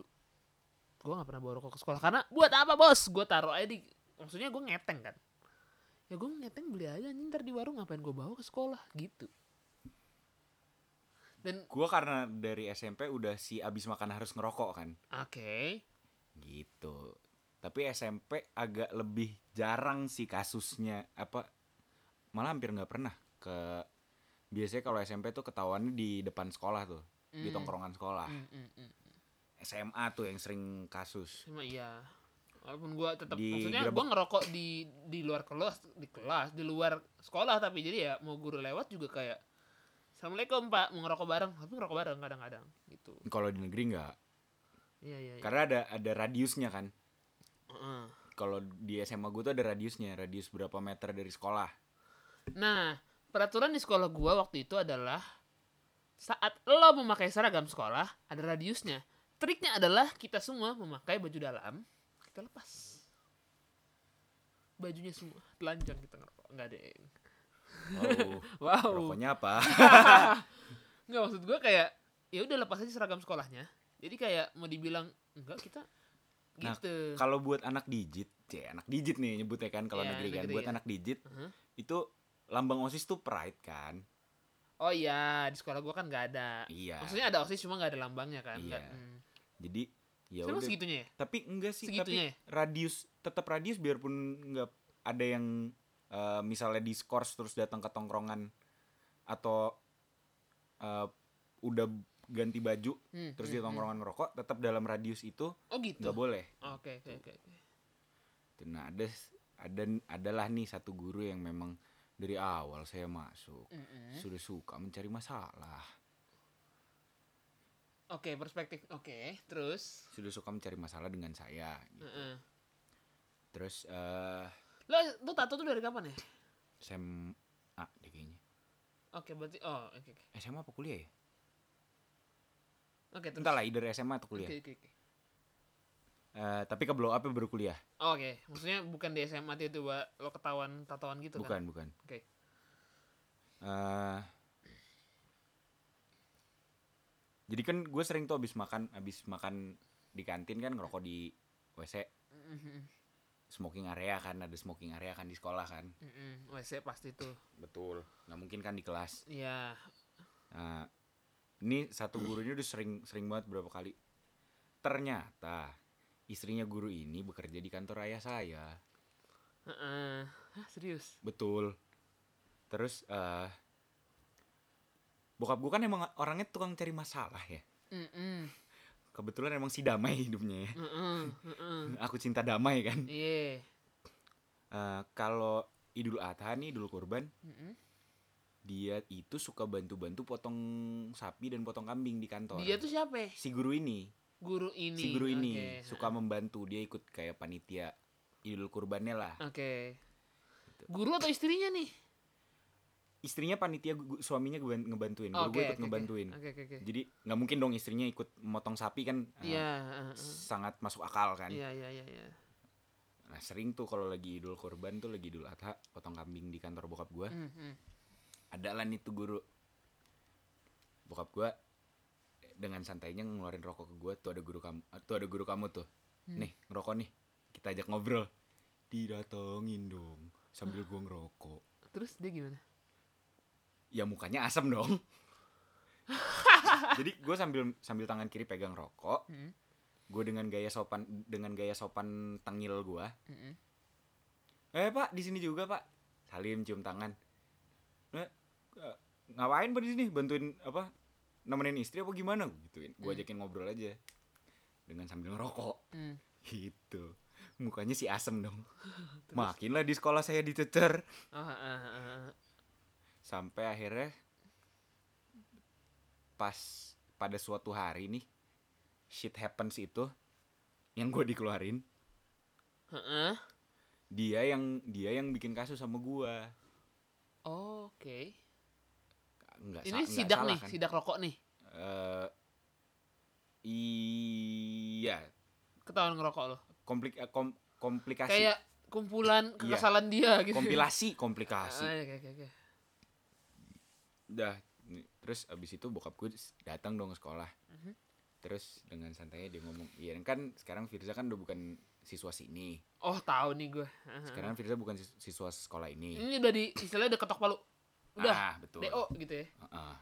[SPEAKER 1] gue nggak pernah bawa rokok ke sekolah karena buat apa bos gue taruh aja di maksudnya gue ngeteng kan ya gue ngeteng beli aja anjing, ntar di warung ngapain gue bawa ke sekolah gitu dan
[SPEAKER 2] Gua karena dari SMP udah si abis makan harus ngerokok kan.
[SPEAKER 1] oke
[SPEAKER 2] gitu tapi SMP agak lebih jarang sih kasusnya apa malah hampir nggak pernah ke biasanya kalau SMP tuh ketahuannya di depan sekolah tuh di
[SPEAKER 1] Mm.
[SPEAKER 2] tongkrongan sekolah
[SPEAKER 1] Mm, mm, mm.
[SPEAKER 2] SMA tuh yang sering kasus
[SPEAKER 1] cuma iya walaupun gue tetap
[SPEAKER 2] Di
[SPEAKER 1] maksudnya
[SPEAKER 2] gerobak-
[SPEAKER 1] gue ngerokok di di luar kelas di kelas di luar sekolah tapi jadi ya mau guru lewat juga kayak assalamualaikum pak mau ngerokok bareng tapi ngerokok bareng kadang-kadang gitu
[SPEAKER 2] kalau di negeri nggak
[SPEAKER 1] iya iya iya
[SPEAKER 2] karena ada ada radiusnya kan
[SPEAKER 1] Heeh.
[SPEAKER 2] kalau di SMA gue tuh ada radiusnya radius berapa meter dari sekolah
[SPEAKER 1] nah peraturan di sekolah gue waktu itu adalah saat lo memakai seragam sekolah ada radiusnya triknya adalah kita semua memakai baju dalam kita lepas bajunya semua telanjang kita ngerokok nggak deng
[SPEAKER 2] oh
[SPEAKER 1] wow
[SPEAKER 2] rokoknya apa
[SPEAKER 1] Enggak maksud gue kayak ya udah lepas aja seragam sekolahnya. Jadi kayak mau dibilang enggak kita
[SPEAKER 2] Nah,
[SPEAKER 1] gitu.
[SPEAKER 2] kalau buat anak digit cie anak digit nih nyebutnya kan kalau
[SPEAKER 1] Iya,
[SPEAKER 2] negeri kan
[SPEAKER 1] negeri,
[SPEAKER 2] buat
[SPEAKER 1] iya.
[SPEAKER 2] anak digit
[SPEAKER 1] Heeh.
[SPEAKER 2] itu lambang osis tuh pride kan
[SPEAKER 1] Oh iya, di sekolah gue kan nggak ada.
[SPEAKER 2] Iya.
[SPEAKER 1] Maksudnya ada OSIS cuma nggak ada lambangnya kan.
[SPEAKER 2] Iya.
[SPEAKER 1] Nggak- hmm.
[SPEAKER 2] Jadi ya
[SPEAKER 1] Emang
[SPEAKER 2] udah.
[SPEAKER 1] segitunya ya?
[SPEAKER 2] Tapi enggak sih,
[SPEAKER 1] Segitunya ya?
[SPEAKER 2] tapi radius tetap radius biarpun enggak ada yang eh, misalnya diskors terus datang ke tongkrongan atau eh, udah ganti baju
[SPEAKER 1] Hmm,
[SPEAKER 2] terus
[SPEAKER 1] hmm,
[SPEAKER 2] di tongkrongan ngerokok tetap dalam radius itu
[SPEAKER 1] hmm. Oh gitu.
[SPEAKER 2] nggak boleh.
[SPEAKER 1] Oke oke oke. oke.
[SPEAKER 2] Tuh, Nah, ada ada adalah nih satu guru yang memang dari awal saya masuk
[SPEAKER 1] Mm-mm.
[SPEAKER 2] sudah suka mencari masalah.
[SPEAKER 1] Oke perspektif. Oke terus.
[SPEAKER 2] Sudah suka mencari masalah dengan saya. gitu.
[SPEAKER 1] Heeh.
[SPEAKER 2] Terus eh
[SPEAKER 1] Lo lo tato tuh dari kapan ya?
[SPEAKER 2] SMA deh kayaknya.
[SPEAKER 1] Oke berarti oh oke oke.
[SPEAKER 2] SMA apa kuliah ya?
[SPEAKER 1] Oke terus.
[SPEAKER 2] Entahlah, either SMA atau
[SPEAKER 1] Oke
[SPEAKER 2] kuliah.
[SPEAKER 1] oke oke.
[SPEAKER 2] Eh, tapi ke blow up baru kuliah.
[SPEAKER 1] Oh, Oke, maksudnya bukan di SMA itu Pak. lo ketahuan tatoan gitu kan?
[SPEAKER 2] Bukan, bukan.
[SPEAKER 1] Oke.
[SPEAKER 2] Eh, jadi kan gue sering tuh abis makan, abis makan di kantin kan ngerokok di WC,
[SPEAKER 1] Mm-mm.
[SPEAKER 2] smoking area kan, ada smoking area kan di sekolah kan.
[SPEAKER 1] Mm-mm. WC pasti tuh.
[SPEAKER 2] Betul. Nah mungkin kan di kelas.
[SPEAKER 1] Iya.
[SPEAKER 2] Nah, ini satu gurunya udah sering, sering banget berapa kali. Ternyata istrinya guru ini bekerja di kantor ayah saya.
[SPEAKER 1] Heeh. Hah, serius?
[SPEAKER 2] Betul. Terus eh bokap gue kan emang orangnya tukang cari masalah ya.
[SPEAKER 1] Mm-mm.
[SPEAKER 2] Kebetulan emang si damai hidupnya ya.
[SPEAKER 1] Mm-mm. Mm-mm.
[SPEAKER 2] Aku cinta damai kan.
[SPEAKER 1] Iya.
[SPEAKER 2] Eh kalau Idul Adha nih Idul Kurban,
[SPEAKER 1] Mm-mm.
[SPEAKER 2] dia itu suka bantu-bantu potong sapi dan potong kambing di kantor.
[SPEAKER 1] Dia tuh siapa?
[SPEAKER 2] si guru ini,
[SPEAKER 1] Guru ini.
[SPEAKER 2] si guru ini
[SPEAKER 1] Oke.
[SPEAKER 2] suka membantu, dia ikut kayak panitia Idul Kurbannya lah.
[SPEAKER 1] Oke.
[SPEAKER 2] Gitu.
[SPEAKER 1] Guru atau istrinya nih?
[SPEAKER 2] Istrinya panitia, gu- suaminya ngeban- ngebantuin, guru gue
[SPEAKER 1] Oke,
[SPEAKER 2] ikut
[SPEAKER 1] oke, oke.
[SPEAKER 2] ngebantuin.
[SPEAKER 1] Oke oke oke.
[SPEAKER 2] Jadi nggak mungkin dong istrinya ikut motong sapi kan eh,
[SPEAKER 1] Iya. heeh, heeh.
[SPEAKER 2] sangat masuk akal kan.
[SPEAKER 1] Iya iya iya. iya.
[SPEAKER 2] Nah sering tuh kalau lagi idul kurban tuh lagi idul adha potong kambing di kantor bokap gua
[SPEAKER 1] Hmm, hmm.
[SPEAKER 2] ada lah nih tuh guru bokap gua eh, dengan santainya ngeluarin rokok ke gua tuh ada guru kamu tuh ada guru kamu tuh
[SPEAKER 1] Hmm.
[SPEAKER 2] nih ngerokok nih kita ajak ngobrol didatengin dong sambil gua ngerokok
[SPEAKER 1] Terus dia gimana?
[SPEAKER 2] ya mukanya asem dong jadi gue sambil sambil tangan kiri pegang rokok
[SPEAKER 1] Hmm,
[SPEAKER 2] gue dengan gaya sopan dengan gaya sopan tengil gua
[SPEAKER 1] hmm, hmm.
[SPEAKER 2] eh pak di sini juga pak salim cium tangan "Eh, eh, ngapain pak di sini bantuin apa nemenin istri apa gimana gituin gue ajakin ngobrol aja dengan sambil ngerokok
[SPEAKER 1] Hmm.
[SPEAKER 2] gitu mukanya si asem dong makinlah di sekolah saya dicecer
[SPEAKER 1] Ah, ah, ah, ah, ah.
[SPEAKER 2] sampai akhirnya pas pada suatu hari nih shit happens itu yang gue dikeluarin
[SPEAKER 1] Ah, ah.
[SPEAKER 2] dia yang dia yang bikin kasus sama gue
[SPEAKER 1] Oke.
[SPEAKER 2] nggak sa-
[SPEAKER 1] Ini
[SPEAKER 2] nggak
[SPEAKER 1] sidak
[SPEAKER 2] salah
[SPEAKER 1] nih,
[SPEAKER 2] kan?
[SPEAKER 1] sidak rokok nih.
[SPEAKER 2] Eh, iya
[SPEAKER 1] Ketahuan ngerokok loh.
[SPEAKER 2] komplik eh, kom- komplikasi
[SPEAKER 1] Kayak kumpulan kekesalan dia gitu.
[SPEAKER 2] Iya. kompilasi
[SPEAKER 1] Ah,
[SPEAKER 2] komplikasi
[SPEAKER 1] Oke, oke, oke.
[SPEAKER 2] Dah, nih, terus abis itu bokap gue datang dong ke sekolah.
[SPEAKER 1] Mhm.
[SPEAKER 2] Terus dengan santainya dia ngomong, iya kan sekarang Firza kan udah bukan siswa sini.
[SPEAKER 1] Oh, tahu nih gue. Ah, ah.
[SPEAKER 2] Sekarang Firza bukan sis- siswa sekolah ini.
[SPEAKER 1] Ini udah di istilahnya udah ketok palu. Udah,
[SPEAKER 2] Ah, betul.
[SPEAKER 1] DO gitu ya.
[SPEAKER 2] Heeh.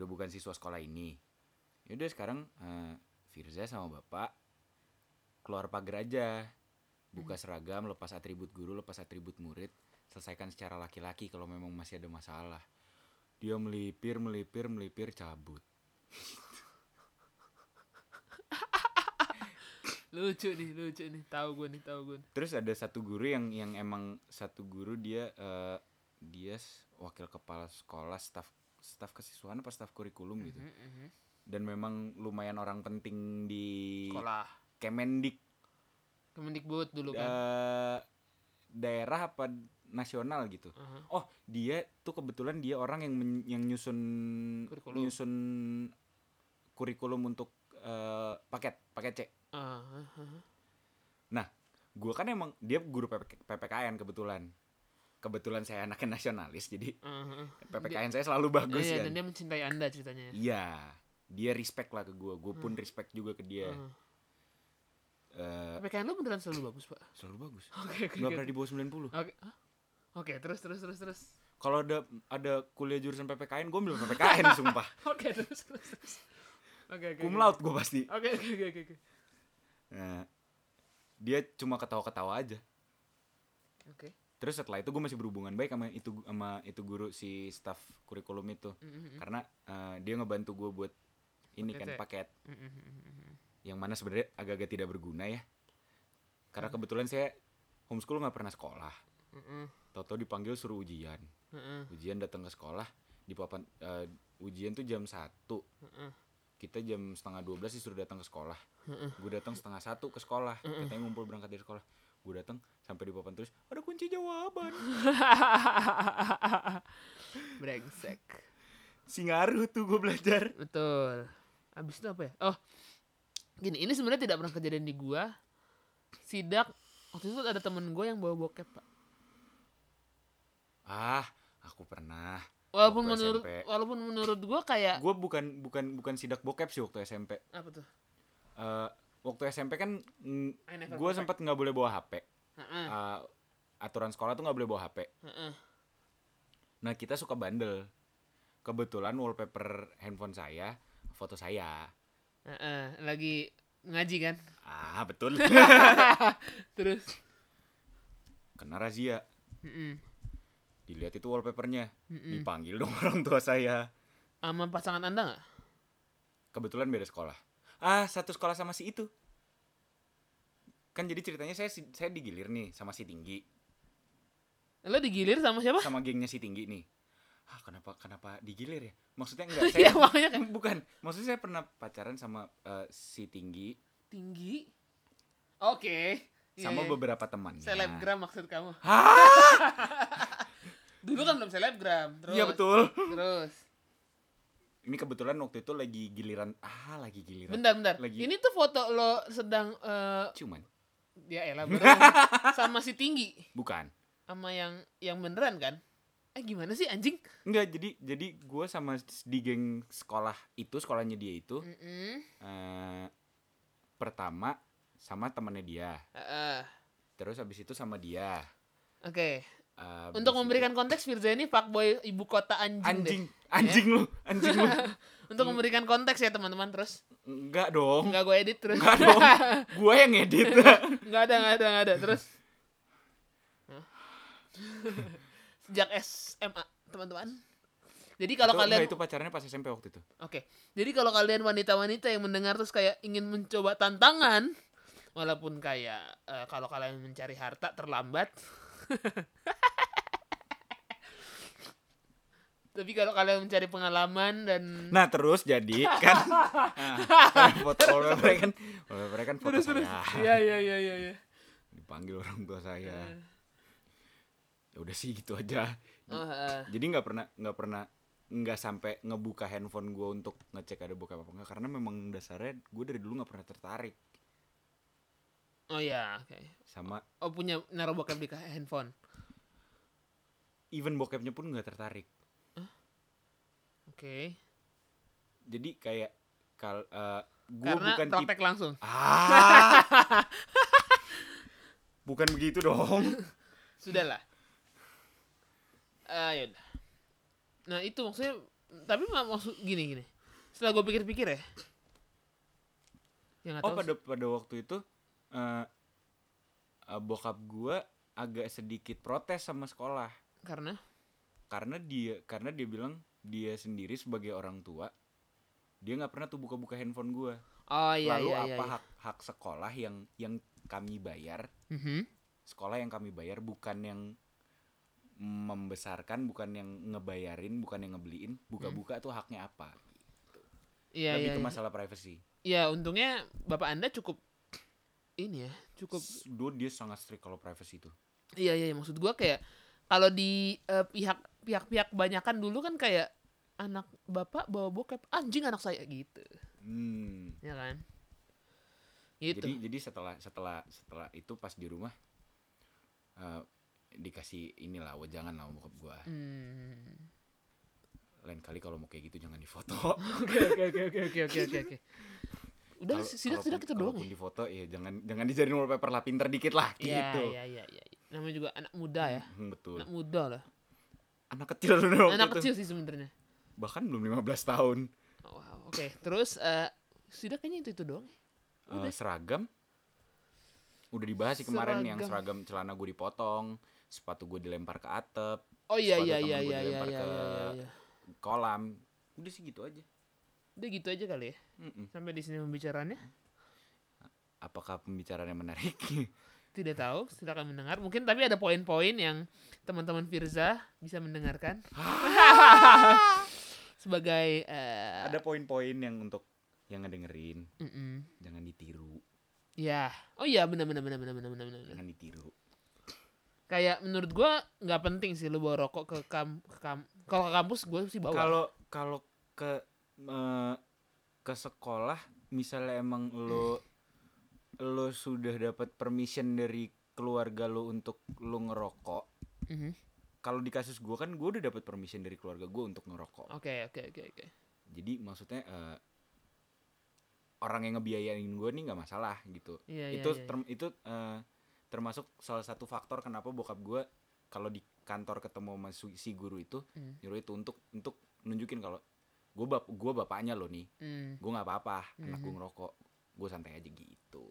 [SPEAKER 2] Udah bukan siswa sekolah ini. Yaudah sekarang eh, Firza sama bapak keluar pagar aja. Buka seragam, lepas atribut guru, lepas atribut murid. Selesaikan secara laki-laki kalau memang masih ada masalah. Dia melipir, melipir, melipir, cabut.
[SPEAKER 1] Lucu nih, lucu nih. Tahu gue nih, tahu gue. nih.
[SPEAKER 2] Terus ada satu guru yang yang emang satu guru dia eh, dia s- wakil kepala sekolah staf staf kesiswaan apa staf kurikulum gitu.
[SPEAKER 1] Mhm, mhm.
[SPEAKER 2] Dan memang lumayan orang penting di
[SPEAKER 1] Sekolah.
[SPEAKER 2] Kemendik
[SPEAKER 1] Kemendikbud dulu kan.
[SPEAKER 2] da- Eh, daerah apa nasional gitu.
[SPEAKER 1] Aha.
[SPEAKER 2] Oh, dia tuh kebetulan dia orang yang men- yang nyusun
[SPEAKER 1] Kurikulum.
[SPEAKER 2] nyusun kurikulum untuk eh, paket paket C.
[SPEAKER 1] Ah, ah, ah.
[SPEAKER 2] Gua kan emang dia guru PPK PPKN kebetulan. Kebetulan saya anaknya nasionalis jadi
[SPEAKER 1] Ah, ah.
[SPEAKER 2] PPKN saya selalu bagus
[SPEAKER 1] Iya,
[SPEAKER 2] kan.
[SPEAKER 1] dan dia mencintai Anda ceritanya. ya.
[SPEAKER 2] Iya. Dia respect lah ke gua, gua
[SPEAKER 1] Hmm.
[SPEAKER 2] pun respect juga ke dia.
[SPEAKER 1] Ah.
[SPEAKER 2] Eh,
[SPEAKER 1] PPKN lu beneran selalu bagus, Pak.
[SPEAKER 2] selalu bagus.
[SPEAKER 1] Oke, oke.
[SPEAKER 2] Gak
[SPEAKER 1] oke.
[SPEAKER 2] pernah di bawah 90.
[SPEAKER 1] Oke. Hah? Oke, terus terus terus terus.
[SPEAKER 2] Kalau ada ada kuliah jurusan PPKN, gua ambil PPKN sumpah.
[SPEAKER 1] Oke, terus terus terus. Oke, oke. oke.
[SPEAKER 2] Cum laude gua pasti.
[SPEAKER 1] Oke, oke, oke, oke, oke.
[SPEAKER 2] gitu. Nah, dia cuma ketawa-ketawa aja.
[SPEAKER 1] Oke.
[SPEAKER 2] Terus setelah itu gue masih berhubungan baik sama itu sama itu guru si staff kurikulum itu.
[SPEAKER 1] Mhm,
[SPEAKER 2] Karena eh, dia ngebantu gue buat ini
[SPEAKER 1] Paket
[SPEAKER 2] kan
[SPEAKER 1] ya?
[SPEAKER 2] paket
[SPEAKER 1] mhm, mhm, mhm, mhm.
[SPEAKER 2] yang mana sebenarnya agak-agak tidak berguna ya. Karena
[SPEAKER 1] Hmm.
[SPEAKER 2] kebetulan saya homeschool nggak pernah sekolah.
[SPEAKER 1] Mhm,
[SPEAKER 2] Toto dipanggil suruh ujian.
[SPEAKER 1] mhm,
[SPEAKER 2] Ujian datang ke sekolah di papan eh, ujian tuh jam 1
[SPEAKER 1] mhm.
[SPEAKER 2] kita jam setengah 12 disuruh datang ke sekolah
[SPEAKER 1] Heeh.
[SPEAKER 2] gue datang setengah satu ke sekolah katanya ngumpul berangkat dari sekolah gue datang sampai di papan tulis ada kunci jawaban
[SPEAKER 1] Brengsek.
[SPEAKER 2] singaruh tuh gue belajar
[SPEAKER 1] Betul. Abis itu apa ya? Oh, gini. Ini sebenarnya tidak pernah kejadian di gua. Sidak waktu itu ada temen gue yang bawa bokep pak.
[SPEAKER 2] ah aku pernah
[SPEAKER 1] Walaupun
[SPEAKER 2] Waktu
[SPEAKER 1] menurut
[SPEAKER 2] SMP.
[SPEAKER 1] walaupun menurut gua kayak
[SPEAKER 2] gue bukan bukan bukan sidak bokep sih waktu SMP
[SPEAKER 1] apa tuh?
[SPEAKER 2] Eh, waktu SMP kan
[SPEAKER 1] I never
[SPEAKER 2] gue
[SPEAKER 1] bokep.
[SPEAKER 2] sempat nggak boleh bawa HP
[SPEAKER 1] Heeh,
[SPEAKER 2] Eh, aturan sekolah tuh nggak boleh bawa HP
[SPEAKER 1] heeh.
[SPEAKER 2] nah kita suka bandel kebetulan wallpaper handphone saya foto saya
[SPEAKER 1] Heeh, lagi ngaji kan?
[SPEAKER 2] ah betul
[SPEAKER 1] Terus
[SPEAKER 2] kena razia
[SPEAKER 1] heeh.
[SPEAKER 2] dilihat itu wallpapernya
[SPEAKER 1] Mm-mm.
[SPEAKER 2] dipanggil dong orang tua saya
[SPEAKER 1] sama pasangan Anda nggak?
[SPEAKER 2] kebetulan beda sekolah ah satu sekolah sama si itu kan jadi ceritanya saya si- saya digilir nih sama si tinggi
[SPEAKER 1] Lo digilir sama siapa?
[SPEAKER 2] sama gengnya si tinggi nih ah kenapa kenapa digilir ya maksudnya enggak
[SPEAKER 1] Iya,
[SPEAKER 2] saya
[SPEAKER 1] makanya kan
[SPEAKER 2] bukan maksudnya saya pernah pacaran sama eh, si tinggi
[SPEAKER 1] tinggi. Oke. Iya,
[SPEAKER 2] sama
[SPEAKER 1] iya.
[SPEAKER 2] beberapa temannya
[SPEAKER 1] selebgram maksud kamu.
[SPEAKER 2] Hah?
[SPEAKER 1] Dulu kan belum selebgram. Terus.
[SPEAKER 2] iya betul
[SPEAKER 1] Terus.
[SPEAKER 2] ini kebetulan waktu itu lagi giliran ah lagi giliran
[SPEAKER 1] Bentar, bentar.
[SPEAKER 2] Lagi.
[SPEAKER 1] Ini tuh foto lo sedang eh,
[SPEAKER 2] cuman
[SPEAKER 1] ya elah beneran. sama si tinggi
[SPEAKER 2] Bukan.
[SPEAKER 1] sama yang yang beneran kan eh gimana sih anjing
[SPEAKER 2] Enggak, jadi jadi gue sama s- di geng sekolah itu, sekolahnya dia itu
[SPEAKER 1] Hmm. Mm-mm.
[SPEAKER 2] eh, pertama sama temannya dia,
[SPEAKER 1] Heeh.
[SPEAKER 2] terus habis itu sama dia.
[SPEAKER 1] oke
[SPEAKER 2] Eh, habis
[SPEAKER 1] untuk
[SPEAKER 2] itu-
[SPEAKER 1] memberikan konteks Firza ini fuckboy ibu kota anjing,
[SPEAKER 2] anjing,
[SPEAKER 1] deh
[SPEAKER 2] anjing lu, anjing lu.
[SPEAKER 1] untuk memberikan konteks ya teman-teman terus
[SPEAKER 2] Enggak dong.
[SPEAKER 1] nggak gue edit terus
[SPEAKER 2] Enggak dong. Gue yang edit.
[SPEAKER 1] nggak ada nggak ada nggak ada terus Hah? sejak SMA teman-teman jadi kalau
[SPEAKER 2] Itu-
[SPEAKER 1] kalian
[SPEAKER 2] enggak, itu pacarnya pas SMP waktu itu.
[SPEAKER 1] Oke, jadi kalau kalian wanita-wanita yang mendengar terus kayak ingin mencoba tantangan, walaupun kayak eh, kalau kalian mencari harta terlambat, tapi kalau kalian mencari pengalaman dan
[SPEAKER 2] Nah terus jadi kan nah, kan foto oleh mereka kan oleh mereka kan foto
[SPEAKER 1] terus terus,
[SPEAKER 2] saya
[SPEAKER 1] iya iya iya iya, iya,
[SPEAKER 2] dipanggil orang tua saya ya udah sih gitu aja
[SPEAKER 1] Eh, Oh, eh,
[SPEAKER 2] jadi nggak pernah nggak pernah nggak sampai ngebuka handphone gue untuk ngecek ada bokap apa enggak karena memang dasarnya gue dari dulu nggak pernah tertarik
[SPEAKER 1] oh ya, oke,
[SPEAKER 2] sama
[SPEAKER 1] oh punya naruh bokep di handphone,
[SPEAKER 2] even bokapnya pun nggak tertarik
[SPEAKER 1] oke,
[SPEAKER 2] jadi kayak kal gue
[SPEAKER 1] karena
[SPEAKER 2] bukan tipe
[SPEAKER 1] praktek langsung,
[SPEAKER 2] ah bukan begitu dong
[SPEAKER 1] sudahlah, Ah, yaudah. nah itu maksudnya, tapi mak- maksud gini gini, setelah gue pikir-pikir ya, yang
[SPEAKER 2] Oh pada pada waktu itu eh eh, bokap gua agak sedikit protes sama sekolah
[SPEAKER 1] karena
[SPEAKER 2] karena dia karena dia bilang dia sendiri sebagai orang tua dia nggak pernah tuh buka-buka handphone gua.
[SPEAKER 1] oh iya
[SPEAKER 2] Lalu
[SPEAKER 1] iya
[SPEAKER 2] apa
[SPEAKER 1] iya, iya.
[SPEAKER 2] hak hak sekolah yang yang kami bayar
[SPEAKER 1] Mhm.
[SPEAKER 2] sekolah yang kami bayar bukan yang membesarkan bukan yang ngebayarin bukan yang ngebeliin buka-buka tuh haknya apa
[SPEAKER 1] iya
[SPEAKER 2] lebih
[SPEAKER 1] iya
[SPEAKER 2] ke
[SPEAKER 1] iya.
[SPEAKER 2] masalah privacy
[SPEAKER 1] Iya, untungnya bapak anda cukup ini ya cukup
[SPEAKER 2] Duh, dia sangat strict kalau privacy itu
[SPEAKER 1] iya iya iya. maksud gua kayak kalau di eh, pihak pihak-pihak banyakan dulu kan kayak anak bapak bawa bokep anjing anak saya gitu
[SPEAKER 2] hmm.
[SPEAKER 1] ya kan gitu
[SPEAKER 2] Jadi jadi setelah setelah setelah itu pas di rumah eh, dikasih inilah wejangan lah sama bokap gua.
[SPEAKER 1] Hmm.
[SPEAKER 2] Lain kali kalau mau kayak gitu jangan difoto.
[SPEAKER 1] Oke oke oke oke oke oke oke, oke. Udah
[SPEAKER 2] Kalau-
[SPEAKER 1] sidak
[SPEAKER 2] kalaupun-
[SPEAKER 1] sidak itu doang
[SPEAKER 2] kalaupun
[SPEAKER 1] ya.
[SPEAKER 2] difoto ya jangan jangan dijadiin wallpaper lah pinter dikit lah
[SPEAKER 1] Iya
[SPEAKER 2] gitu.
[SPEAKER 1] iya iya iya. Namanya juga anak muda ya.
[SPEAKER 2] Hmm, betul.
[SPEAKER 1] Anak muda lah.
[SPEAKER 2] Anak kecil dulu waktu
[SPEAKER 1] Anak
[SPEAKER 2] itu.
[SPEAKER 1] kecil sih sebenarnya.
[SPEAKER 2] Bahkan belum 15 tahun.
[SPEAKER 1] Oh, wow. Oke, terus eh sidak kayaknya itu itu doang. ya?
[SPEAKER 2] Eh, seragam udah dibahas sih kemarin yang seragam celana gue dipotong, sepatu gue dilempar ke atap,
[SPEAKER 1] Oh iya
[SPEAKER 2] Sepatu
[SPEAKER 1] iya
[SPEAKER 2] temen
[SPEAKER 1] iya iya
[SPEAKER 2] gua
[SPEAKER 1] iya
[SPEAKER 2] dilempar
[SPEAKER 1] iya
[SPEAKER 2] ke-
[SPEAKER 1] iya iya.
[SPEAKER 2] kolam. Udah sih gitu aja.
[SPEAKER 1] Udah gitu aja kali ya.
[SPEAKER 2] Mm-mm.
[SPEAKER 1] Sampai di sini pembicaraannya.
[SPEAKER 2] Apakah pembicaraan yang menarik?
[SPEAKER 1] Tidak tahu, silakan mendengar. Mungkin tapi ada poin-poin yang teman-teman Firza bisa mendengarkan. Sebagai eh
[SPEAKER 2] ada poin-poin yang untuk yang ngedengerin
[SPEAKER 1] mm-mm.
[SPEAKER 2] jangan ditiru
[SPEAKER 1] Ya. Oh iya benar benar benar benar benar benar benar.
[SPEAKER 2] jangan ditiru
[SPEAKER 1] Kayak menurut gua nggak penting sih lu bawa rokok ke kam ke kam kalau ke kampus gua sih bawa.
[SPEAKER 2] kalau kalau ke eh, ke sekolah misalnya emang lo lo sudah dapat permission dari keluarga lo untuk lo ngerokok
[SPEAKER 1] Mhm.
[SPEAKER 2] kalau di kasus gue kan gue udah dapat permission dari keluarga gue untuk ngerokok
[SPEAKER 1] Oke oke oke oke.
[SPEAKER 2] jadi maksudnya eh, orang yang ngebiayain gue nih nggak masalah gitu
[SPEAKER 1] Iya iya.
[SPEAKER 2] itu
[SPEAKER 1] iya.
[SPEAKER 2] term- itu eh, termasuk salah satu faktor kenapa bokap gue kalau di kantor ketemu sama su- si guru itu
[SPEAKER 1] Hmm.
[SPEAKER 2] nyuruh itu untuk untuk nunjukin kalau gue bap gue bapaknya lo nih
[SPEAKER 1] Hmm.
[SPEAKER 2] gue nggak apa-apa anak gue
[SPEAKER 1] Mhm.
[SPEAKER 2] ngerokok gue santai aja gitu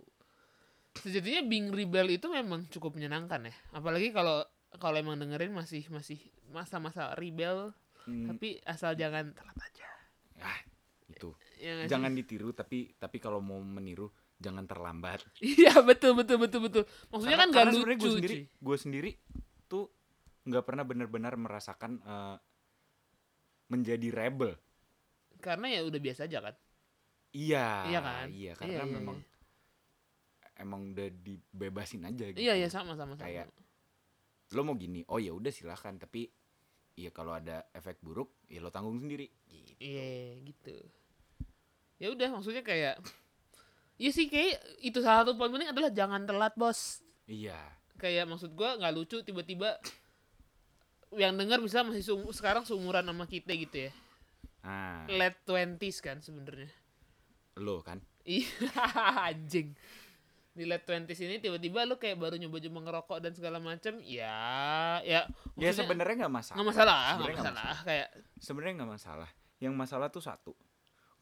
[SPEAKER 1] sejatinya being rebel itu memang cukup menyenangkan ya apalagi kalau kalau emang dengerin masih masih masa-masa rebel
[SPEAKER 2] Hmm,
[SPEAKER 1] tapi asal jangan telat aja
[SPEAKER 2] ah, itu
[SPEAKER 1] ya nggak sih?
[SPEAKER 2] jangan ditiru tapi tapi kalau mau meniru jangan terlambat
[SPEAKER 1] iya betul betul betul betul maksudnya kan gak lucu
[SPEAKER 2] gue sendiri
[SPEAKER 1] cuy.
[SPEAKER 2] gue sendiri tuh nggak pernah benar-benar merasakan eh, menjadi rebel
[SPEAKER 1] karena ya udah biasa aja kan
[SPEAKER 2] Iya.
[SPEAKER 1] Iya kan?
[SPEAKER 2] Iya,
[SPEAKER 1] Iya,
[SPEAKER 2] karena
[SPEAKER 1] iya, iya.
[SPEAKER 2] memang emang udah dibebasin aja gitu.
[SPEAKER 1] iya iya sama sama sama
[SPEAKER 2] Kayak lo mau gini, oh ya udah silakan, tapi ya kalau ada efek buruk ya lo tanggung sendiri. Gitu.
[SPEAKER 1] iya gitu ya udah maksudnya kayak ya sih kayak itu salah satu poin penting adalah jangan telat bos
[SPEAKER 2] Iya.
[SPEAKER 1] kayak maksud gua nggak lucu tiba-tiba yang denger bisa masih seum- sekarang seumuran sama kita gitu ya
[SPEAKER 2] Nah,
[SPEAKER 1] late twenties kan sebenarnya
[SPEAKER 2] lo kan.
[SPEAKER 1] iya anjing di late twenties ini tiba-tiba lu kayak baru nyoba-nyoba ngerokok dan segala macem ya ya
[SPEAKER 2] Ya
[SPEAKER 1] maksudnya
[SPEAKER 2] sebenarnya nggak masalah.
[SPEAKER 1] nggak masalah nggak
[SPEAKER 2] Sebenarnya nggak
[SPEAKER 1] masalah kayak
[SPEAKER 2] Sebenarnya nggak masalah. Yang masalah tuh satu.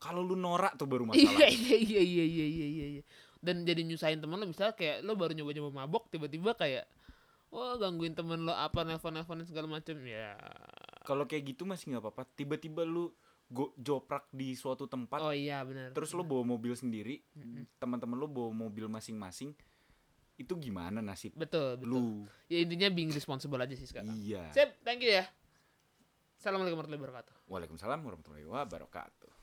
[SPEAKER 2] Kalau lu norak tuh baru
[SPEAKER 1] iya
[SPEAKER 2] masalah.
[SPEAKER 1] iya iya iya iya iya iya iya. dan jadi nyusahin temen lo misalnya kayak lo baru nyoba nyoba mabok tiba-tiba kayak wah gangguin temen lo apa nelfon nelfonin segala macem ya
[SPEAKER 2] Kalau kayak gitu masih nggak apa-apa. Tiba-tiba lu go joprak di suatu tempat,
[SPEAKER 1] oh iya benar
[SPEAKER 2] terus lu bawa mobil sendiri, teman-teman lu bawa mobil masing-masing. Itu gimana nasib
[SPEAKER 1] betul betul
[SPEAKER 2] lu?
[SPEAKER 1] ya intinya being responsible aja sih sekarang
[SPEAKER 2] Iya.
[SPEAKER 1] sip thank you ya assalamualaikum warahmatullahi wabarakatuh
[SPEAKER 2] Waalaikumsalam warahmatullahi wabarakatuh.